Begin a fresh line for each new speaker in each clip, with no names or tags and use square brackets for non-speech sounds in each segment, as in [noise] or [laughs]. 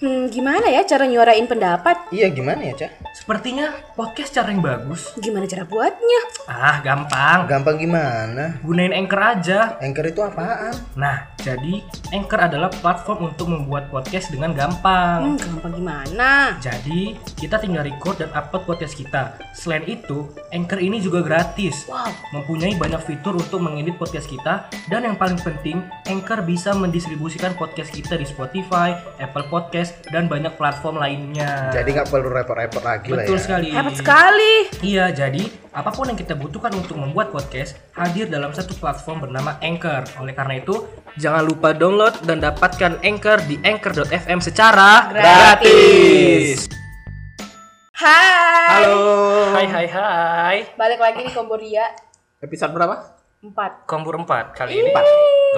Hmm, gimana ya cara nyuarain pendapat?
Iya gimana ya Cak?
Sepertinya podcast cara yang bagus.
Gimana cara buatnya?
Ah, gampang.
Gampang gimana?
Gunain Anchor aja.
Anchor itu apaan?
Nah, jadi Anchor adalah platform untuk membuat podcast dengan
Hmm,
gampang.
gampang gimana?
Jadi, kita tinggal record dan upload podcast kita. Selain itu, Anchor ini juga gratis.
Wow,
Mempunyai banyak fitur untuk mengedit podcast kita dan yang paling penting, Anchor bisa mendistribusikan podcast kita di Spotify, Apple Podcast, dan banyak platform lainnya.
Jadi nggak perlu repot-repot lagi lah ya.
betul sekali.
hebat sekali.
Iya, jadi apapun yang kita butuhkan untuk membuat podcast hadir dalam satu platform bernama Anchor. Oleh karena itu, jangan lupa download dan dapatkan Anchor di anchor.fm secara
Gratis. Hai.
Halo.
Hai hai hai.
Balik lagi di Komboria
Episode berapa?
4.
Kompor 4 kali
Ih,
ini.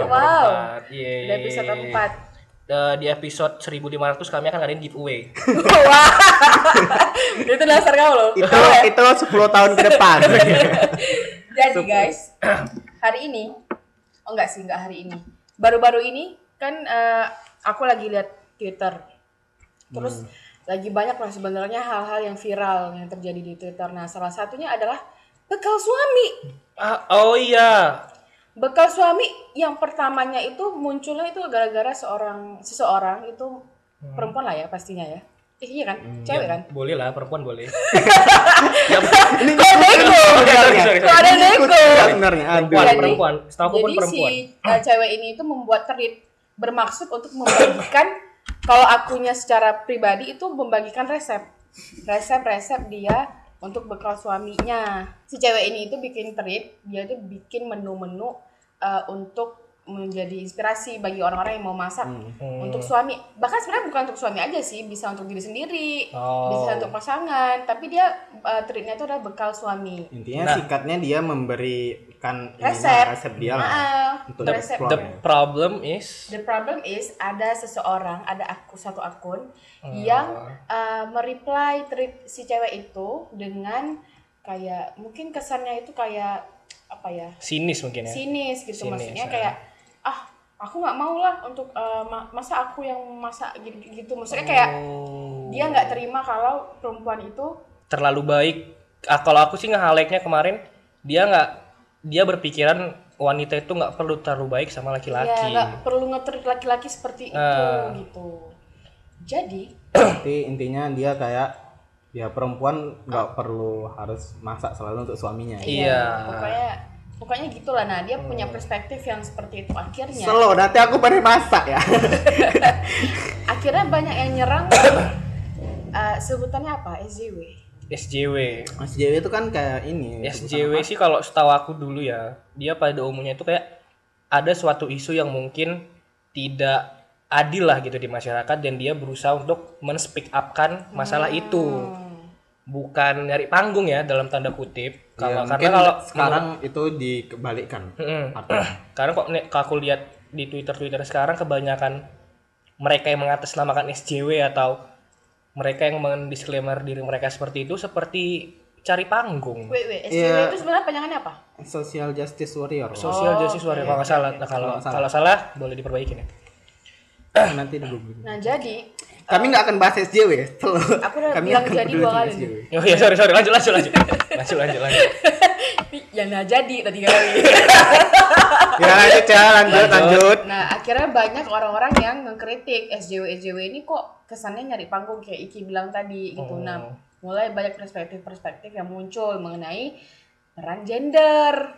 Kompor
wow.
empat, yeay.
Udah episode 4.
Eh, di episode 1500 kami akan ngadain giveaway.
Wah. [laughs] Itu dasar kau loh.
Itu itu 10 tahun ke [laughs] depan.
Jadi guys, [clears throat] hari ini oh enggak sih, enggak hari ini. Baru-baru ini kan eh, aku lagi lihat Twitter. Terus lagi banyak lah sebenarnya hal-hal yang viral yang terjadi di Twitter. Nah, salah satunya adalah bekal suami.
Ah, oh iya.
Bekal suami yang pertamanya itu munculnya itu gara-gara seorang seseorang itu perempuan lah ya pastinya ya. Ih, iya kan? Cewek kan?
Boleh lah, perempuan
[laughs]
boleh.
Ini
Kok neko?
sebenarnya.
Sorry, sorry, sorry.
Kok ada neko?
Sebenarnya aduh.
Perempuan,
Jadi-
perempuan. Setahu aku pun
Jadi si
perempuan.
eh, cewek ini itu membuat tweet bermaksud untuk membagikan kalau akunya secara pribadi itu membagikan resep. Resep-resep dia untuk bekal suaminya. Si cewek ini itu bikin tweet, dia itu bikin menu-menu eh, untuk menjadi inspirasi bagi orang-orang yang mau masak
Mhm.
untuk suami. Bahkan sebenarnya bukan untuk suami aja sih, bisa untuk diri sendiri,
Oh.
bisa untuk pasangan, tapi dia eh, tweetnya itu adalah bekal suami.
Intinya
Nah.
singkatnya dia memberikan ininya,
Resep.
resep dia
Iya.
lah
Nah.
Ah,
untuk
resep.
resep.
The problem is
The problem is ada seseorang, ada aku satu akun
Oh.
yang uh, mereply tweet si cewek itu dengan kayak mungkin kesannya itu kayak apa ya?
sinis mungkin ya.
sinis gitu
Sinis,
maksudnya
ya.
kayak ah, aku nggak mau lah untuk uh, ma- masa aku yang masak gitu, gitu. maksudnya kayak dia nggak terima kalau perempuan itu
Oh. Terlalu baik. Ah, kalau aku sih ngehaleknya kemarin dia nggak dia berpikiran wanita itu nggak perlu terlalu baik sama
ya
laki-laki.
nggak perlu ngetrit laki-laki seperti itu
Ah.
gitu. Jadi
Berarti intinya dia kayak ya perempuan nggak perlu harus masak selalu untuk suaminya. ya.
Iya. Hmm.
Pokoknya pokoknya gitulah nah dia punya perspektif yang seperti itu
Iya.
akhirnya.
Slow, nanti aku pada masak ya.
Akhirnya banyak yang
[coughs]
nyerang eh, sebutannya apa? SJW.
SJW.
[laughs] Mas Jawa itu kan kayak ini.
Ya,
Ya,
SJW sih kalau setahu aku dulu ya, dia pada umumnya itu kayak ada suatu isu yang mungkin tidak adil lah gitu di masyarakat dan dia berusaha untuk men-speak up-kan masalah
Hmm.
itu. Bukan nyari panggung ya dalam tanda kutip.
Ya,
Kalau karena
mungkin
kalau
sekarang itu dikebalikan.
Hmm.
Mm-mm.
Atau
Karena kok nek- kalau aku lihat di Twitter Twitter sekarang kebanyakan mereka yang mengatasnamakan SJW atau mereka yang mendisklaimer diri mereka seperti itu seperti cari panggung.
Wait, wait, SJW
Iya.
itu sebenarnya panjangannya apa?
social justice warrior.
Social justice warrior kalau nggak salah. Nah, kalau
Kalau nggak salah.
kalau salah boleh diperbaiki ya.
Oh, nanti digugurkan.
Nah, jadi
Kami nggak akan bahas SJW. slow.
Aku udah
Kami
bilang
akan
jadi
dulu
dua
tentang
kali nih.
SJW.
[laughs] Oh iya, sorry sorry lanjut lanjut lanjut. lanjut lanjut lanjut.
ya nah jadi tadi
[coughs]
kali.
Ya
[laughs]
lanjut ya, lanjut, lanjut.
nah, akhirnya banyak orang-orang yang ngekritik SJW SJW ini kok kesannya nyari panggung kayak Iki bilang tadi gitu.
Oh.
Nah, mulai banyak perspektif-perspektif yang muncul mengenai peran gender.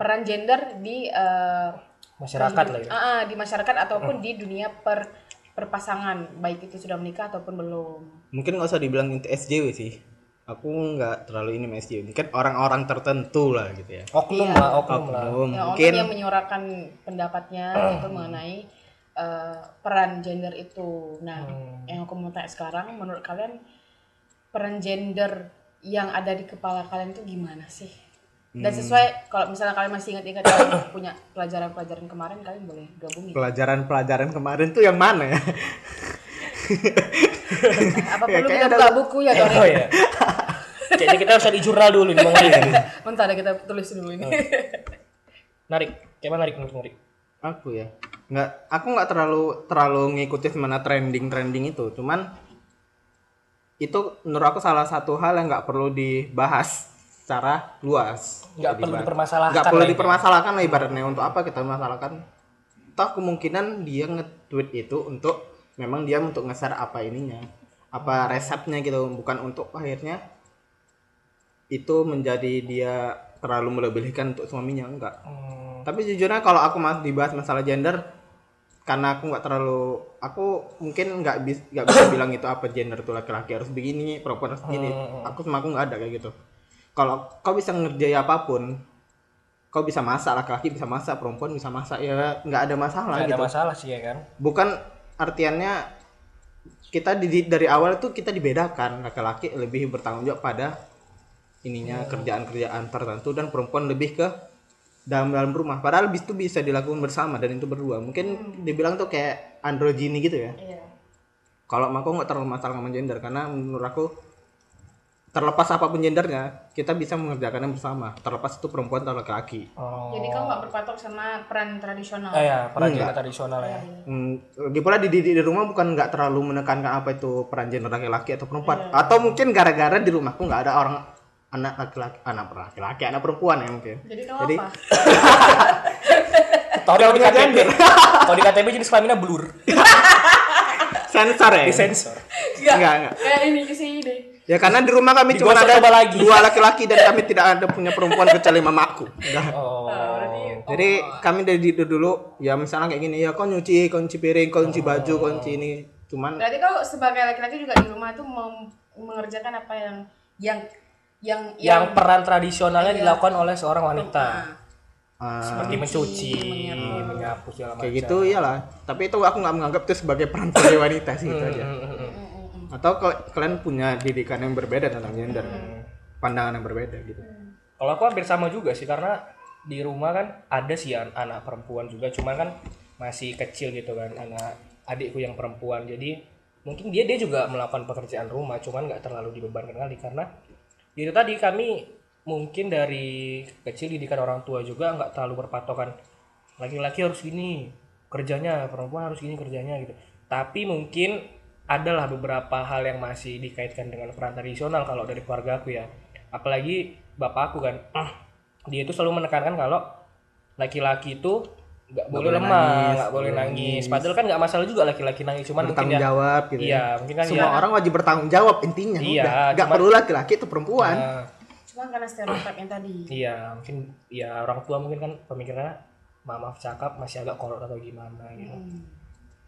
Peran gender di eh,
Masyarakat lah ya. Hmm.
Ah, ah, di masyarakat ataupun di dunia per perpasangan, baik itu sudah menikah ataupun belum.
mungkin nggak usah dibilang itu SJW sih aku nggak terlalu ini sama SJW mungkin orang-orang tertentu lah gitu ya
Oknum
Iya.
lah, oknum lah.
Oknum,
Ya, orang
mungkin
yang menyuarakan
[clears throat]
pendapatnya itu mengenai eh, peran gender itu. Nah,
Hmm.
yang aku mau tanya sekarang, menurut kalian peran gender yang ada di kepala kalian itu gimana sih? Dan
Hmm.
sesuai kalau misalnya kalian masih ingat-ingat kalian
[clears throat]
punya pelajaran-pelajaran kemarin, kalian boleh gabungin.
pelajaran-pelajaran kemarin tuh yang mana ya
Nah, Apa perlu kita buka buku
[clears throat]
ya, Dor?
Oh iya. Kayaknya kita harus di jurnal dulu nih mengenai ini.
[laughs] Bentar deh, kita tulis dulu ini.
Narik, kayak mana narik menurut narik?
aku ya nggak aku nggak terlalu terlalu ngikutin mana trending trending itu cuman itu menurut aku salah satu hal yang nggak perlu dibahas secara luas
Nggak
Jadi
perlu
ibarat-
dipermasalahkan
nggak perlu
lah ya. ini.
dipermasalahkan lah ibaratnya untuk apa kita masalahkan toh kemungkinan dia nge-tweet itu untuk memang dia untuk nge-share apa ininya apa resepnya gitu bukan untuk akhirnya itu menjadi dia terlalu melebihkan untuk suaminya enggak
Hmm,
tapi jujurnya kalau aku mas dibahas masalah gender karena aku nggak terlalu aku mungkin nggak bisa nggak
[coughs]
bisa bilang itu apa gender tuh laki-laki harus begini perempuan harus
Hmm,
begini aku sama aku nggak ada kayak gitu kalau kau bisa ngerjain apapun kau bisa masak laki-laki bisa masak perempuan bisa masak ya nggak ada masalah
nggak ada
gitu
masalah sih ya kan
bukan artiannya kita di, dari awal tuh kita dibedakan laki-laki lebih bertanggung jawab pada ininya kerjaan-kerjaan tertentu dan perempuan lebih ke dalam dalam rumah padahal bis itu bisa dilakukan bersama dan itu berdua mungkin dibilang tuh kayak androgini gitu ya
Iya.
kalau aku nggak terlalu masalah sama gender karena menurut aku terlepas apapun gendernya kita bisa mengerjakannya bersama terlepas itu perempuan atau laki-laki
oh,
Jadi kamu nggak berpatok sama peran tradisional.
eh, ya peran
Nggak.
gender tradisional ya
Hmm, lagi pula dididik di rumah bukan nggak terlalu menekankan apa itu peran gender laki-laki atau perempuan. Atau mungkin gara-gara di rumahku nggak ada orang anak laki-laki, anak laki-laki, anak perempuan ya mungkin.
Jadi kamu
Jadi-
[laughs]
apa?
Tahu kalau di
punya
KTP,
gender.
[laughs] kalau di KTP jenis kelaminnya blur,
Sensor ya?
disensor.
Nggak.
Enggak, enggak.
Kayak ini ke sini.
Ya karena di rumah kami cuma
Digosok
ada
coba lagi.
dua laki-laki dan kami tidak ada punya perempuan kecuali mamaku. Udah.
Oh,
Jadi kami dari dididik dulu ya misalnya kayak gini ya kau nyuci, kau nyuci piring, kau nyuci baju, kau nyuci ini. Cuman
Berarti kau sebagai laki-laki juga di rumah itu mem- mengerjakan apa yang yang yang Ah,
yang peran tradisionalnya dilakukan oleh seorang wanita,
eh,
seperti mencuci, menyapu segala macam.
kayak gitu iyalah. Tapi itu aku nggak menganggap itu sebagai peran sebagai
[laughs]
wanita sih gitu aja.
Hmm, hmm, hmm.
atau kal- kalian punya didikan yang berbeda tentang gender
Hmm.
pandangan yang berbeda gitu
Kalau aku hampir sama juga sih karena di rumah kan ada sih an- anak perempuan juga, cuman kan masih kecil gitu kan anak adikku yang perempuan. Jadi mungkin dia dia juga melakukan pekerjaan rumah, cuman nggak terlalu dibebankan kali karena itu tadi kami mungkin dari kecil didikan orang tua juga nggak terlalu berpatokan laki-laki harus gini kerjanya perempuan harus gini kerjanya gitu tapi mungkin adalah beberapa hal yang masih dikaitkan dengan peran tradisional kalau dari keluarga aku ya apalagi bapakku kan [clears throat] dia itu selalu menekankan kalau laki-laki itu nggak boleh, lemah nggak boleh nangis. padahal kan nggak masalah juga laki-laki nangis cuman mungkin
bertanggung
ya
jawab gitu
iya mungkin kan
semua
ya,
orang wajib bertanggung jawab intinya
Iya,
udah nggak
cuman-
perlu laki-laki itu perempuan
eh,
Cuma karena stereotip yang tadi.
Iya, mungkin ya orang tua mungkin kan pemikirannya mama cakap masih agak kolot atau gimana gitu.
Hmm.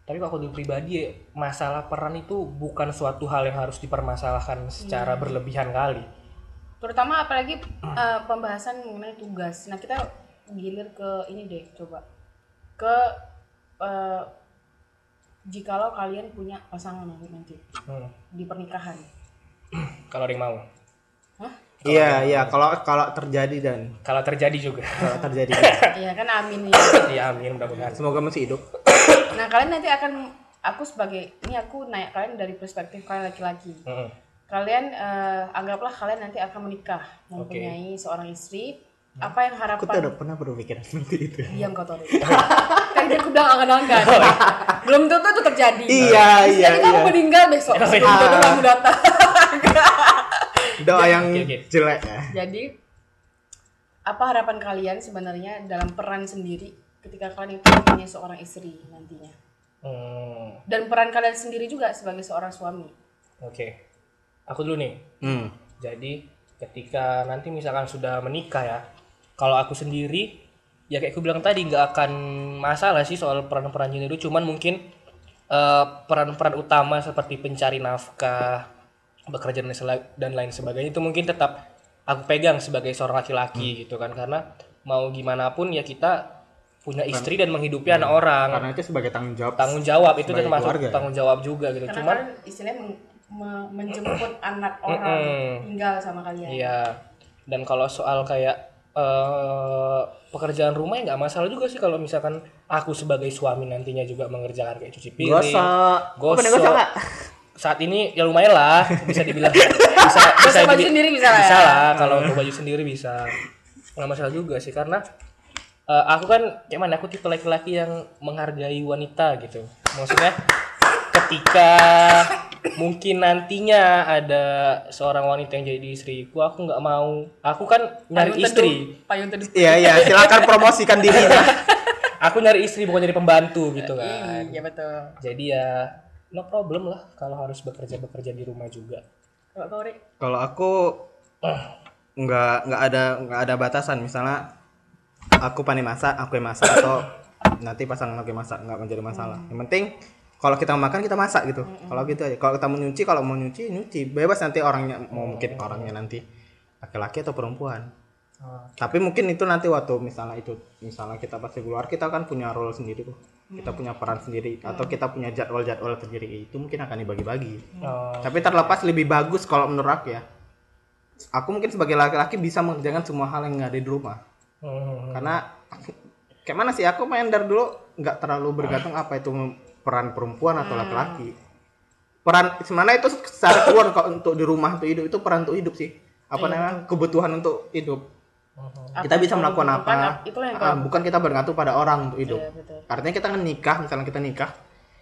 Tapi kalau di pribadi ya, masalah peran itu bukan suatu hal yang harus dipermasalahkan secara berlebihan kali.
Terutama apalagi eh, pembahasan mengenai tugas. Nah, kita gilir ke ini deh coba. Ke eh, jikalau kalian punya pasangan nanti, nanti
Hmm.
di pernikahan.
Kalau ada yang mau.
Hah?
Nah,
iya iya kalau kalau terjadi dan
Kalau terjadi juga. [laughs]
kalau terjadi
Iya kan amin ya.
ya amin mudah-mudahan.
semoga masih hidup
Nah kalian nanti akan aku sebagai ini aku naik kalian dari perspektif kalian laki-laki.
Hmm.
Kalian eh, anggaplah kalian nanti akan menikah mempunyai seorang istri. Apa yang
aku
harapan?
tidak pernah berpikir seperti itu
Iya,
Diam kau Tori. Tadi aku bilang angan-angan. Belum tentu itu terjadi.
iya iya
Jadi kamu
iya
meninggal besok.
Oh, iya.
Belum tentu kamu datang. [laughs]
doa yang
Oke, oke.
jelek ya
Jadi apa harapan kalian sebenarnya dalam peran sendiri ketika kalian itu punya seorang istri nantinya?
Hmm,
Dan peran kalian sendiri juga sebagai seorang suami.
Oke. Aku dulu nih.
hmm.
Jadi ketika nanti misalkan sudah menikah ya, kalau aku sendiri ya kayak aku bilang tadi nggak akan masalah sih soal peran-peran gender itu, cuman mungkin eh, peran-peran utama seperti pencari nafkah, bekerja dan sela- dan lain sebagainya itu mungkin tetap aku pegang sebagai
Hmm.
seorang laki-laki gitu kan karena mau gimana pun ya kita punya istri dan menghidupi anak orang
Iya. karena itu sebagai tanggung jawab
tanggung jawab itu
Sebagai
termasuk
keluarga ya?
tanggung jawab juga gitu
Karena
cuman
kan istilahnya men- me-
[clears throat]
menjemput anak orang
Mm-mm.
tinggal sama kalian.
Iya. Dan kalau soal kayak eh pekerjaan rumah ya nggak masalah juga sih kalau misalkan aku sebagai suami nantinya juga mengerjakan kayak cuci piring,
gosok Kau pernah
gosok.
gosok nggak?
Saat ini ya lumayan lah bisa
[laughs]
dibilang bisa bisa
baju
dibi-
sendiri bisa lah ya?
lah, kalau untuk baju sendiri bisa. Nggak masalah juga sih karena eh, aku kan kayak mana aku tipe laki-laki yang menghargai wanita gitu maksudnya ketika mungkin nantinya ada seorang wanita yang jadi istriku aku nggak mau aku kan nyari
Payung
istri
teduh, Payung teduh.
Iya iya, silakan promosikan dirinya.
aku nyari istri bukan nyari pembantu gitu kan
Iya betul.
jadi ya no problem lah kalau harus bekerja bekerja di rumah juga
Kalau kau Rik?
Kalau aku nggak nggak ada nggak ada batasan misalnya aku pandai masak aku yang masak atau nanti pasangan aku yang masak nggak menjadi masalah. Yang penting kalau kita makan kita masak gitu. Kalau gitu aja. Kalau kita mau nyuci kalau mau nyuci nyuci bebas nanti orangnya mau mungkin orangnya nanti laki-laki atau perempuan. Tapi mungkin itu nanti waktu misalnya itu misalnya kita pasti keluar kita kan punya role sendiri kok. Kita
Mm.
punya peran sendiri atau kita punya jadwal-jadwal sendiri itu mungkin akan dibagi-bagi.
Oh,
Tapi terlepas lebih bagus kalau menurut aku ya. Aku mungkin sebagai laki-laki bisa mengerjakan semua hal yang nggak ada di rumah.
hmm.
Karena [laughs] aku- kayak mana sih aku main dari dulu nggak terlalu bergantung apa itu peran perempuan atau laki-laki. Peran sebenarnya itu secara keluar kalau untuk di rumah untuk hidup itu peran untuk hidup sih. Apa
Iya.
namanya? Kebutuhan untuk hidup. Kita bisa melakukan
yang
apa?
dibutuhkan, Itu yang
Ah,
kau.
bukan kita bergantung pada orang untuk hidup.
Iya betul.
Artinya kita kan nikah, misalnya kita nikah,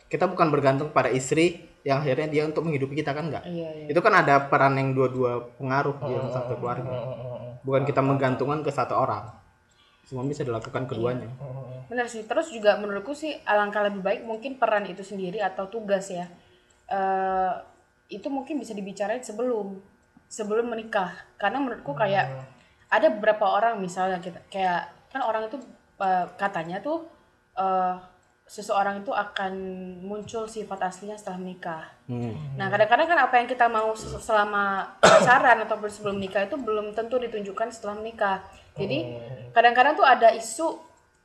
kita bukan bergantung pada istri yang akhirnya dia untuk menghidupi kita kan enggak.
Iya iya.
Itu kan ada peran yang dua-dua pengaruh di dalam satu keluarga. Bukan kita menggantungkan ke satu orang. Semua bisa dilakukan keduanya.
Benar sih. Terus juga menurutku sih alangkah lebih baik mungkin peran itu sendiri atau tugas ya. Eh, itu mungkin bisa dibicarain sebelum sebelum menikah. Karena menurutku kayak ada beberapa orang misalnya kita kayak kan orang itu eh, katanya tuh eh, seseorang itu akan muncul sifat aslinya setelah menikah.
Hmm.
Nah, kadang-kadang kan apa yang kita mau se- selama [coughs] pacaran ataupun sebelum nikah itu belum tentu ditunjukkan setelah menikah. Jadi, kadang-kadang tuh ada isu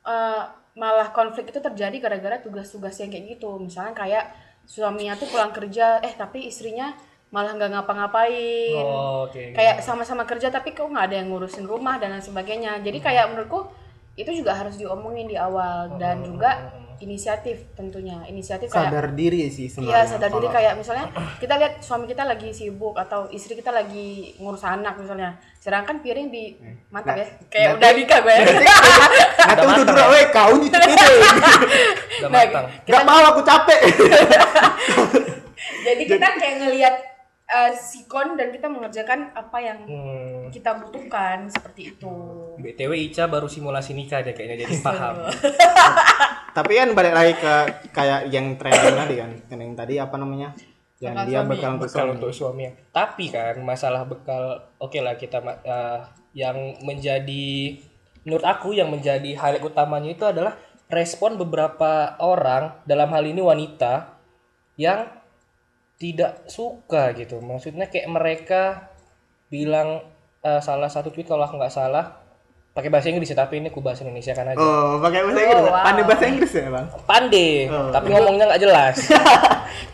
eh, malah konflik itu terjadi gara-gara tugas-tugas yang kayak gitu. Misalnya kayak suaminya tuh pulang kerja, eh tapi istrinya malah nggak ngapa-ngapain
Oh, oke.
kayak sama-sama kerja tapi kok nggak ada yang ngurusin rumah dan lain sebagainya jadi kayak menurutku itu juga harus diomongin di awal dan juga inisiatif tentunya inisiatif kayak
Sadar diri sih
iya
sebenarnya.
sadar diri
[laughs] kalau-
kayak misalnya kita lihat suami kita lagi sibuk atau istri kita lagi ngurus anak misalnya sedangkan piring di mantap ya
Nah,
kayak udah nikah
[laughs]
gue ya
Nah, tuh udah dulu, weh, kau nyicip ini.
Nah,
Udah matang.
Gak mau aku capek. [laughs]
jadi kita kayak ngelihat eh, sikon dan kita mengerjakan apa yang
Hmm.
kita butuhkan seperti itu
[laughs] BTW Ica baru simulasi nikah deh kayaknya jadi paham.
Tapi kan balik lagi ke kayak yang trending tadi kan. Yang tadi apa namanya? Yang
Bakal
dia
suami.
bakal untuk
bekal
suami.
untuk suami. Tapi kan masalah bekal oke lah kita ma- eh, yang menjadi menurut aku yang menjadi hal utamanya itu adalah respon beberapa orang dalam hal ini wanita yang tidak suka gitu. Maksudnya kayak mereka bilang eh, salah satu tweet kalau aku nggak salah pakai bahasa Inggris ya, tapi ini aku bahasa Indonesia kan aja.
Oh, pakai bahasa Inggris.
Oh, wow.
Pandai bahasa Inggris ya, Bang?
Pandai,
Oh.
tapi ngomongnya nggak
[laughs]
jelas.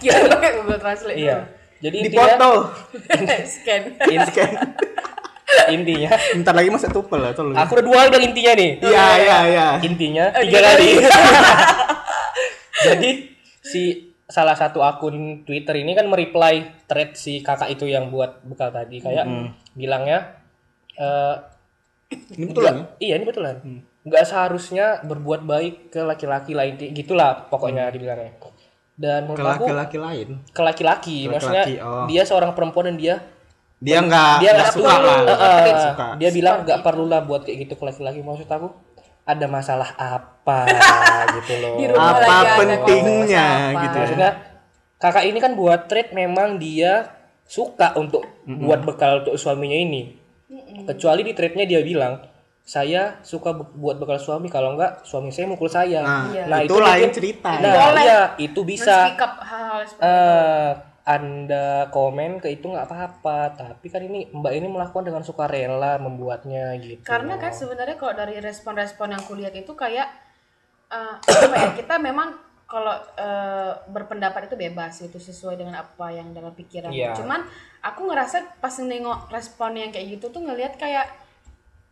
kira pakai Google Translate gitu.
iya. Jadi
Di
intinya-
foto.
[laughs] scan
[laughs]
intinya, intinya
Bentar lagi masa tupel lah, tolong. ya.
Ah.
aku udah dua kali bilang intinya nih
Iya, iya, iya.
intinya
Eh,
tiga
tiga
[laughs]
kali jadi si salah satu akun Twitter ini kan mereply thread si kakak itu yang buat bekal tadi kayak bilangnya eh,
Ini betul kan?
nggak- iya ini betulan nggak seharusnya berbuat baik ke laki-laki lain gitulah pokoknya dibilangnya dan
Mm. Ke
menurut aku
laki-laki lain.
ke laki-laki maksudnya
laki, oh.
dia seorang perempuan dan dia
Dia nggak Ah, nggak
dia nggak
suka
perlu
lah.
Heeh,
Nggak suka.
dia bilang nggak perlulah buat kayak gitu ke laki-laki maksud aku ada masalah
[laughs]
apa gitu loh
Di rumah
Apa
lagi ada
pentingnya
ngomong sama
gitu
siapa.
ya?
maksudnya kakak ini kan buat trade memang dia suka untuk buat bekal untuk suaminya ini kecuali di trade-nya dia bilang saya suka be- buat bekal suami kalau enggak suami saya mukul saya
Nah,
Iya.
itu lain
mungkin-
cerita.
nah,
Boleh.
iya, itu bisa
Men-speak up hal-hal seperti
eh anda komen ke itu nggak apa-apa, tapi kan ini Mbak ini melakukan dengan sukarela membuatnya gitu.
karena kan sebenarnya kalau dari respon-respon yang kulihat itu kayak eh, [clears throat] apa ya kita memang kalau eh, berpendapat itu bebas itu sesuai dengan apa yang dalam pikiran
Iya.
cuman aku ngerasa pas nengok respon yang kayak gitu tuh ngelihat kayak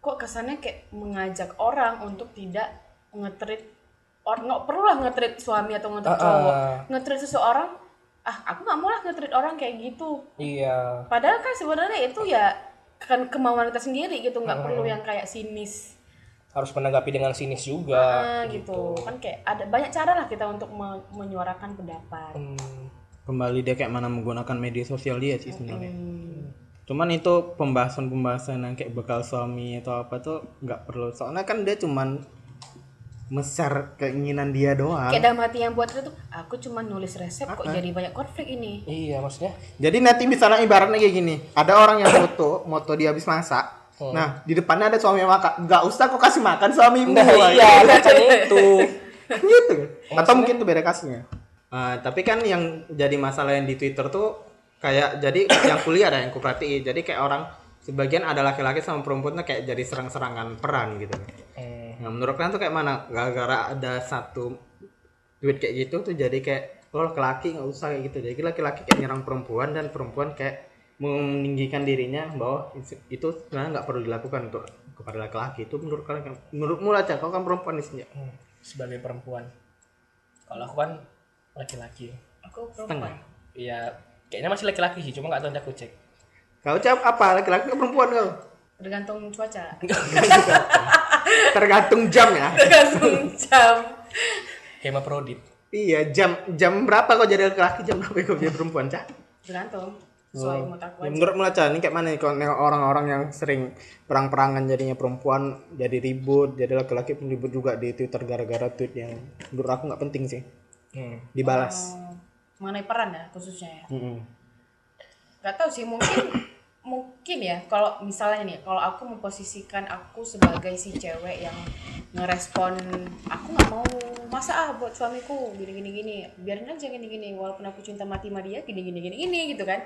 kok kesannya kayak mengajak orang untuk tidak ngetrit orang nggak perlu lah ngetrit suami atau ngetrit
Ah, ah.
cowok ngetrit seseorang ah aku nggak mau lah ngetrit orang kayak gitu
iya.
Padahal Hmm. kan sebenarnya itu ya kan kemauan kita sendiri gitu, nggak perlu yang kayak sinis
harus menanggapi dengan sinis juga
Ah, gitu. kan kayak ada banyak cara lah kita untuk me- menyuarakan pendapat
Hmm,
kembali dia kayak mana menggunakan media sosial dia sih sebenarnya
Hmm.
cuman itu pembahasan pembahasan yang kayak bekal suami atau apa tuh nggak perlu soalnya kan dia cuman mesar keinginan dia doang
kayak dalam hati yang buat itu tuh aku cuma nulis resep kok jadi banyak konflik ini
iya
[laughs]
maksudnya
Jadi nanti misalnya ibaratnya kayak gini, ada orang yang foto, moto dia habis masak.
Oh.
Nah, di depannya ada suami yang makan. Gak usah kok kasih makan suamimu.
nah, [laughs] iya makanya
[laughs]
itu
[laughs] gitu. Atau mungkin itu beda kasusnya. Ah, tapi kan yang jadi masalah yang di Twitter tuh kayak jadi [coughs] yang kuliah ada yang kuperhatiin. Jadi kayak orang sebagian ada laki-laki sama perempuannya kayak jadi serang-serangan peran gitu.
Hmm,
Nah, menurut kalian tuh kayak mana? Gara-gara ada satu tweet kayak gitu tuh jadi kayak lo laki-laki nggak usah kayak gitu. Jadi laki-laki kayak nyerang perempuan dan perempuan kayak meninggikan dirinya bahwa itu- itu sebenarnya nggak perlu dilakukan untuk kepada laki-laki itu menurut kalian menurutmu lah Cak, kau kan perempuan di sini
hmm, sebagai perempuan kalau aku kan laki-laki
aku perempuan
setengah
ya kayaknya masih laki-laki sih cuma nggak tahu nanti aku cek
kau cap apa laki-laki atau perempuan kau
tergantung [laughs] cuaca
tergantung jam ya
tergantung jam
hemaprodit
iya jam jam berapa kau jadi laki-laki jam berapa kau jadi perempuan cak
tergantung sesuai mood aku aja.
Ya, menurut Mula Chan, ini kayak mana nih kalau nengok orang-orang yang sering perang-perangan jadinya perempuan jadi ribut, jadi laki-laki pun ribut juga di Twitter gara-gara tweet yang menurut aku nggak penting sih
hmm.
dibalas.
Hmm, mengenai peran ya khususnya ya
Mm-mm.
Gak tahu sih mungkin [coughs] mungkin ya kalau misalnya nih kalau aku memposisikan aku sebagai si cewek yang ngerespon aku nggak mau masa ah buat suamiku gini gini gini biarin aja gini gini walaupun aku cinta mati sama dia gini gini gini gini gitu kan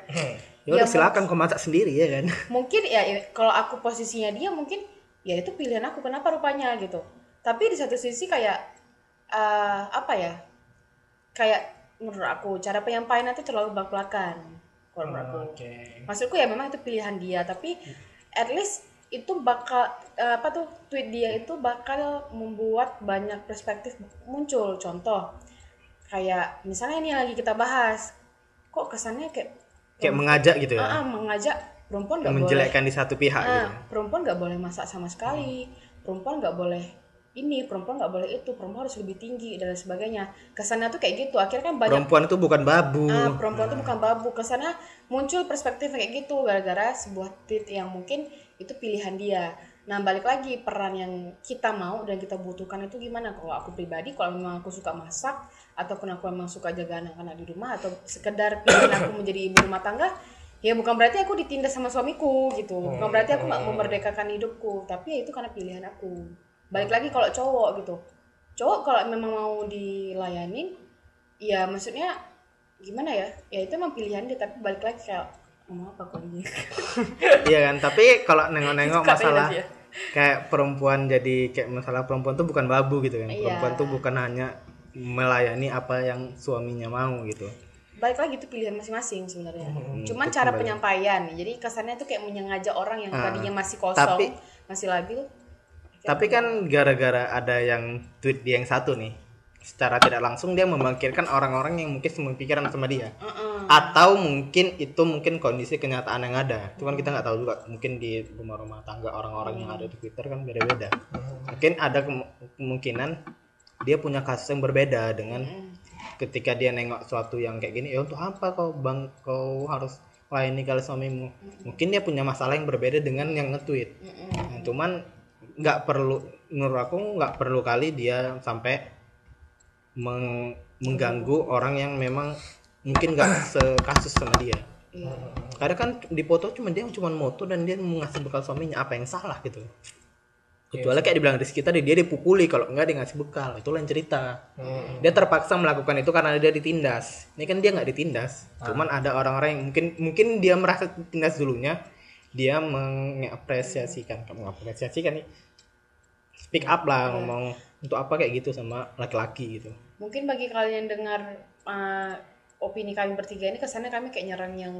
Ya
Ya,
udah silakan kau masak sendiri ya kan. [laughs]
mungkin ya i- kalau aku posisinya dia mungkin ya itu pilihan aku kenapa rupanya gitu tapi di satu sisi kayak eh, apa ya kayak menurut aku cara penyampaian itu terlalu belak belakan kalau menurut aku
oke
maksudku ya memang itu pilihan dia tapi at least itu bakal eh, apa tuh tweet dia itu bakal membuat banyak perspektif muncul contoh kayak misalnya ini yang lagi kita bahas kok kesannya kayak
Kayak mengajak gitu
ah, ah,
ya.
mengajak perempuan
ah.
nggak boleh
Menjelekkan di satu pihak
Nah,
gitu.
perempuan nggak boleh masak sama sekali perempuan nggak boleh ini perempuan nggak boleh itu perempuan harus lebih tinggi dan lain sebagainya kesannya tuh kayak gitu akhirnya kan banyak
Perempuan itu bukan babu.
Ah, perempuan tuh bukan babu. Kesana muncul perspektif kayak gitu gara-gara sebuah tweet yang mungkin itu pilihan dia. Nah, balik lagi peran yang kita mau dan kita butuhkan itu gimana? Kalau aku pribadi, kalau memang aku suka masak ataupun aku memang suka jaga anak-anak di rumah atau sekedar pilihan aku menjadi ibu rumah tangga, ya bukan berarti aku ditindas sama suamiku gitu.
Oh,
Bukan berarti aku nggak memerdekakan hidupku, tapi ya itu karena pilihan aku. Balik lagi kalau cowok gitu. Cowok kalau memang mau dilayanin, ya maksudnya gimana ya ya itu emang pilihan dia tapi balik lagi kayak mau apa kok ini
Iya kan, tapi kalau nengok-nengok
Suka
masalah
ya, Mas, ya.
kayak perempuan jadi kayak masalah perempuan tuh bukan babu gitu kan.
Iya.
Perempuan tuh bukan hanya melayani apa yang suaminya mau gitu.
Iya. balik lagi itu pilihan masing-masing sebenarnya
Hmm,
cuman
itu
cara
kembali.
penyampaian jadi kesannya tuh kayak menyengaja orang yang
Ah,
tadinya masih kosong
tapi-
masih labil
Tapi kan gara-gara ada yang tweet dia yang satu nih, secara tidak langsung dia membangkitkan orang-orang yang mungkin pemikiran sama dia.
Mm-mm.
Atau mungkin itu mungkin kondisi kenyataan yang ada. Cuman kita nggak tahu juga. Mungkin di rumah-rumah tangga orang-orang yang ada di Twitter kan beda-beda. Mungkin ada kemu- kemungkinan dia punya kasus yang berbeda dengan ketika dia nengok suatu yang kayak gini. Ya untuk apa kau bang kau harus layani kali suamimu? Mungkin dia punya masalah yang berbeda dengan yang nge-tweet.
Mm-mm.
Nah, cuman nggak perlu menurut aku nggak perlu kali dia sampai meng- mengganggu orang yang memang mungkin nggak sekasus sama dia.
Iya.
Karena kan di foto cuma dia cuma moto dan dia ngasih bekal suaminya apa yang salah gitu. Kecuali kayak dibilang Rizky tadi dia dipukuli kalau nggak dia ngasih bekal itu lain cerita.
Hmm,
Dia terpaksa melakukan itu karena dia ditindas. Ini kan dia nggak ditindas. Cuman ada orang-orang yang mungkin mungkin dia merasa ditindas dulunya dia mengapresiasikan kamu mengapresiasikan nih speak up lah ngomong untuk apa kayak gitu sama laki-laki gitu
mungkin bagi kalian yang dengar uh, opini kami bertiga ini kesannya kami kayak nyerang yang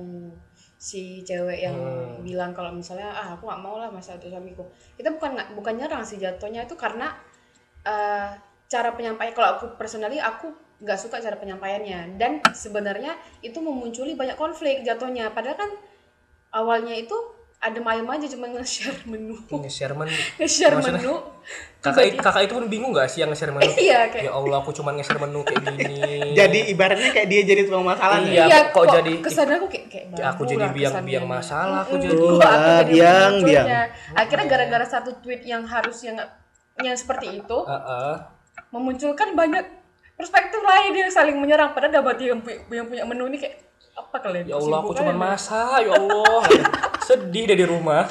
si cewek yang bilang kalau misalnya ah aku nggak mau lah masa itu suamiku itu bukan nggak- bukan nyerang sih jatuhnya itu karena uh, cara penyampaian kalau aku personally aku nggak suka cara penyampaiannya dan sebenarnya itu memunculi banyak konflik jatuhnya padahal kan awalnya itu ada mayem aja cuma nge-share menu
nge-share
[laughs]
menu
nge-share
Hmm. Maksudnya?
menu
kakak kakak itu pun bingung gak sih yang nge-share menu
[laughs] Iya, kayak-
ya Allah aku cuman nge-share menu kayak gini
[laughs] Jadi ibaratnya kayak dia jadi tukang masalah nih.
Iya, kok jadi-
kesana aku kayak, kayak
Ya, aku
babu
jadi
lah
biang-biang
kesannya.
masalah, aku
Mm-mm,
jadi-
kok
Wah,
aku jadi
biang,
munculnya.
biang.
akhirnya gara-gara satu tweet yang harusnya nggak yang seperti itu
Heeh.
memunculkan banyak perspektif lain yang saling menyerang padahal dapat yang, pu- yang punya menu ini kayak apa kalian
ya Allah aku
kesibukan
cuman
ya?
masak ya
[laughs]
Allah sedih deh di rumah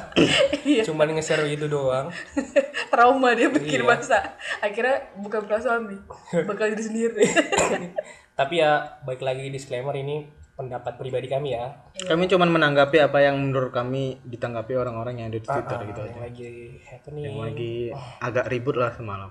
Iya.
cuman nge-share itu doang
[laughs] trauma dia bikin
Iya.
masa akhirnya bukan bukan
[laughs]
suami bakal diri sendiri
tapi ya baik lagi disclaimer ini pendapat pribadi kami ya
Kami cuman menanggapi apa yang menurut kami ditanggapi orang-orang yang ada di Twitter gitu aja.
yang lagi happening
Yang lagi agak ribut lah semalam.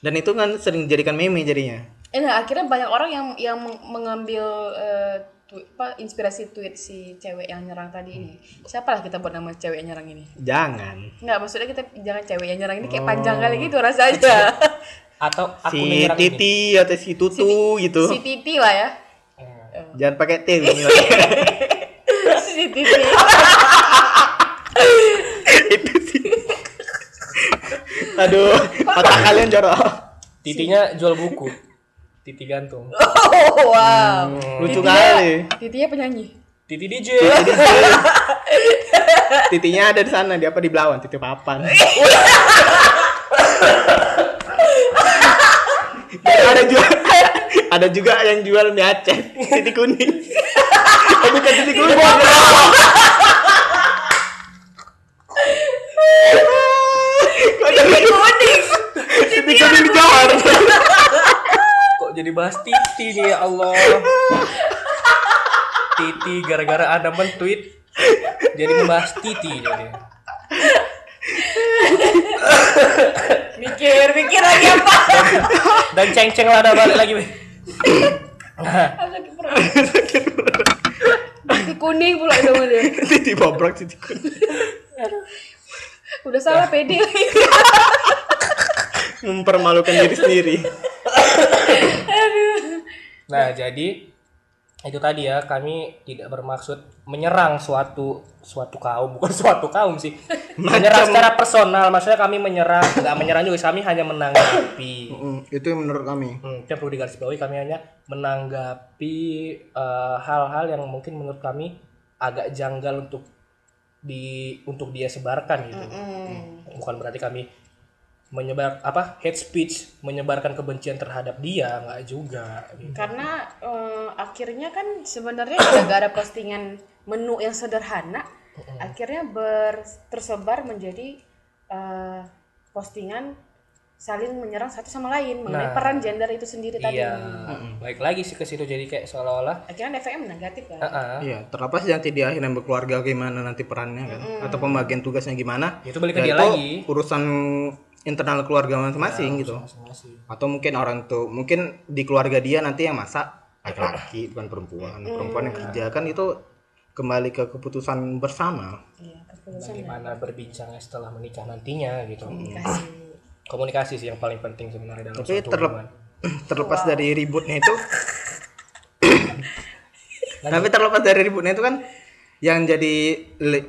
Dan itu kan sering dijadikan meme jadinya.
Eh, nah, akhirnya banyak orang yang yang meng- mengambil eh, twi- apa, inspirasi tweet si cewek yang nyerang tadi ini siapalah kita buat nama cewek yang nyerang ini
Jangan.
Nggak, maksudnya kita jangan cewek yang nyerang ini kayak panjang kali gitu rasanya.
atau aku
Si
menyerang ini
Titi atau si Tutu gitu.
si Titi lah ya.
Jangan pakai T.
[laughs]
si Titi.
itu sih. Aduh, otak kalian jorok.
Hmm. titinya jual buku titi gantung
Oh, wow.
Lucu
Titinya-
kali.
Titinya penyanyi.
titi
[laughs]
DJ
Titinya ada di sana, di apa di Belawan, titip [laughs] papan. ada juga [laughs] ada juga yang jual mie Aceh, titik [laughs] kuning. Eh, bukan titik kuning. [laughs] Kok jadi kuning? Titik kuning di Johor.
kok jadi bahas titi nih ya Allah titi gara-gara anda men-tweet jadi membahas titi jadi
Mikir, mikir lagi apa?
dan ceng-ceng lah ada balik lagi weh.
Titi kuning pula dong dia.
Titik bobrok, titik kuning.
Udah salah pede lagi.
Mempermalukan diri sendiri.
[laughs] nah jadi itu tadi ya kami tidak bermaksud menyerang suatu suatu kaum [laughs] bukan suatu kaum sih menyerang secara personal maksudnya kami menyerang nggak menyerang juga kami hanya menanggapi
itu yang menurut kami.
Hmm, itu yang perlu digarisbawahi kami hanya menanggapi eh, hal-hal yang mungkin menurut kami agak janggal untuk di untuk dia sebarkan gitu. Bukan berarti kami menyebar apa hate speech menyebarkan kebencian terhadap dia nggak juga. Gitu.
Karena eh, akhirnya kan sebenarnya gara-gara postingan menu yang sederhana akhirnya ber, tersebar menjadi eh, postingan saling menyerang satu sama lain mengenai
Nah.
peran gender itu sendiri tadi.
Iya, baik lagi sih ke situ jadi kayak seolah-olah
Akhirnya efeknya negatif kan.
"Ah,
Iya, terlepas nanti dia akhirnya berkeluarga gimana nanti perannya kan atau pembagian tugasnya gimana.
Itu balik
ya
ke dia
itu
lagi. Ya,
Urusan internal keluarga masing-masing gitu.
masing-masing."
Atau mungkin orang tuh mungkin di keluarga dia nanti yang masak laki-laki bukan perempuan. Perempuan yang kerja kan itu kembali ke keputusan bersama.
Iya, keputusan
bagaimana berbincangnya setelah menikah nantinya gitu.
komunikasi.
Komunikasi sih yang paling penting sebenarnya dalam
Tapi
suatu
terlep-
hubungan.
[clears throat] terlepas dari ributnya
[coughs]
itu Tapi terlepas dari ributnya itu kan yang jadi li-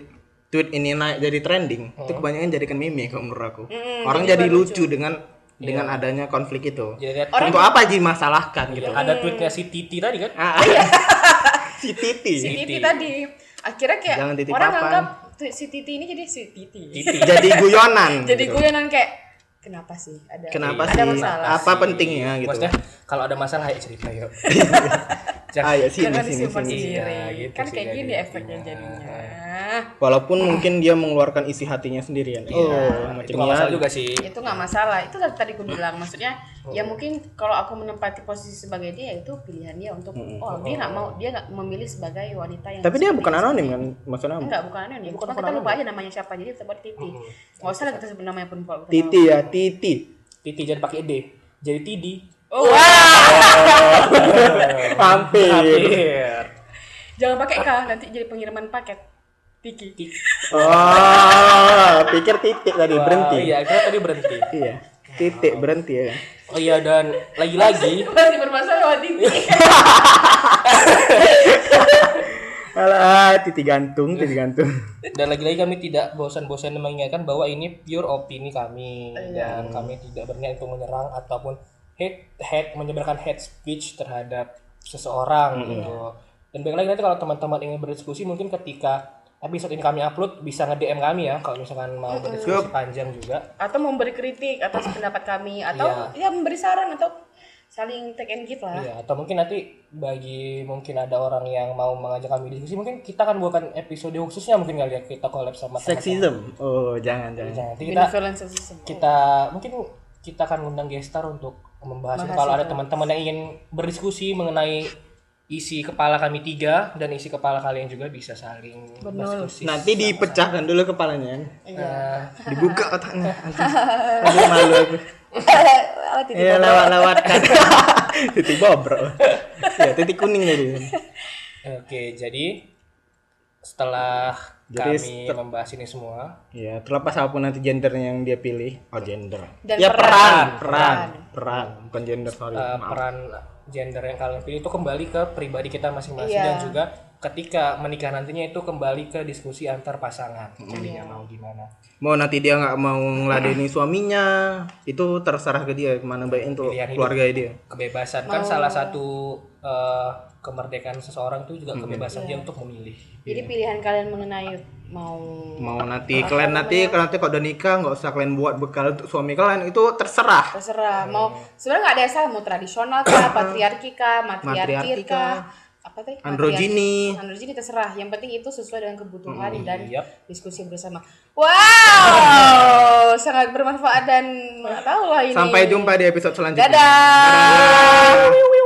tweet ini naik jadi trending itu
Oh.
kebanyakan jadikan meme kalau menurut aku. Orang jadi lucu, dengan dengan adanya konflik itu.
Iya. Jadi lihat Iya.
Untuk apa sih masalahkan gitu?
ada tweetnya si Titi tadi kan?
Ah, [laughs]
Si
si Titi.
Titi tadi akhirnya kayak
Jangan titip
orang
papan.
nganggap tu- si Titi ini jadi si Titi.
Titi.
jadi guyonan.
Jadi
gitu.
gue yang kayak kenapa sih ada
Kenapa
ada
sih?
masalah.
Apa pentingnya gitu?
Maksudnya kalau ada masalah ayo
[laughs]
cerita yuk.
Ah,
Jangan
ya, sini,
Jangan
sini,
disimpan
sini.
sendiri.
Iya, gitu
kan
sih
kayak gini
jadinya.
efeknya jadinya. Nah.
Walaupun mungkin dia mengeluarkan isi hatinya sendirian. Oh,
Iya. itu
macam
nggak masalah
juga.
juga sih.
Itu nggak masalah. Itu dari tadi gue bilang maksudnya
Oh.
ya mungkin kalau aku menempati posisi sebagai dia itu pilihan dia untuk oh dia nggak mau dia nggak memilih sebagai wanita yang
Tapi dia
seperti
bukan anonim kan? Maksudnya
enggak bukan anonim. Bukan kita lupa aja namanya siapa jadi kita buat Titi. Nggak usah lah kita sebut namanya pun kalau kita
Titi ya, Titi.
Titi jangan pakai D. Jadi Tidi.
mau. Oh, Wah,
Hampir.
jangan pakai K nanti jadi pengiriman paket. Tiki. [laughs]
Oh, pikir titik tadi berhenti.
Berhenti. Iya, akhirnya tadi berhenti.
Iya. Titik berhenti ya.
Oh iya dan lagi-lagi
Masih bermasalah sama Titi.
Alah, titik gantung, titik gantung.
Dan lagi-lagi kami tidak bosan-bosan mengingatkan bahwa ini pure opini kami dan kami tidak berniat untuk menyerang ataupun hate hate menyebarkan hate speech terhadap seseorang gitu. Dan baik lagi nanti kalau teman-teman ingin berdiskusi mungkin ketika episode ini kami upload bisa nge-DM kami ya kalau misalkan mau berdiskusi panjang juga.
atau memberi kritik atas pendapat kami atau ya memberi saran atau saling take and give lah.
Iya, atau mungkin nanti bagi mungkin ada orang yang mau mengajak kami diskusi mungkin kita akan buatkan episode khususnya mungkin kali ya kita collab sama
Sexism. Oh, jangan, jangan.
teman-teman. Jangan, nanti kita
Benevolence of system.
[laughs] kita mungkin kita akan ngundang gestar untuk membahas ini. kalau ada teman-teman yang ingin berdiskusi mengenai isi kepala kami tiga dan isi kepala kalian juga bisa saling berdiskusi.
Nanti dipecahkan dulu kepalanya.
Eh,
Dibuka otaknya. Anjing. Aduh malu aku.
Alat titik
Iya [laughs] lewat-lewatkan.
Titik bobrok.
ya titik kuning jadi.
Oke, jadi setelah
Jadi
kami membahas ini semua,
Ya terlepas apapun nanti gendernya yang dia pilih. Oh gender.
dan
ya
peran.
peran, peran, peran, bukan gender sorry.
eh, peran gender yang kalian pilih itu kembali ke pribadi kita masing-masing
Iya.
dan juga ketika menikah nantinya itu kembali ke diskusi antar pasangan. Jadinya mau gimana?
mau nanti dia nggak mau ngeladeni suaminya itu terserah ke dia mana baik untuk
Pilihan hidup.
keluarga dia
kebebasan kan salah satu eh, kemerdekaan seseorang itu juga kebebasan dia untuk memilih
Jadi pilihan kalian mengenai mau
mau nanti kalian nanti kalau nanti kalau udah nikah nggak usah kalian buat bekal untuk suami kalian itu terserah
terserah mau sebenarnya nggak ada yang salah mau tradisional [coughs] kah, patriarki kah, matriarki
Matriarki
kah, apa tadi?
androgini
Matriarki. Androgini terserah. Yang penting itu sesuai dengan kebutuhan dan
yap.
diskusi bersama. Wow, sangat bermanfaat dan nggak tahu lah ini.
sampai jumpa di episode selanjutnya
Dadah. Wiu, wiu.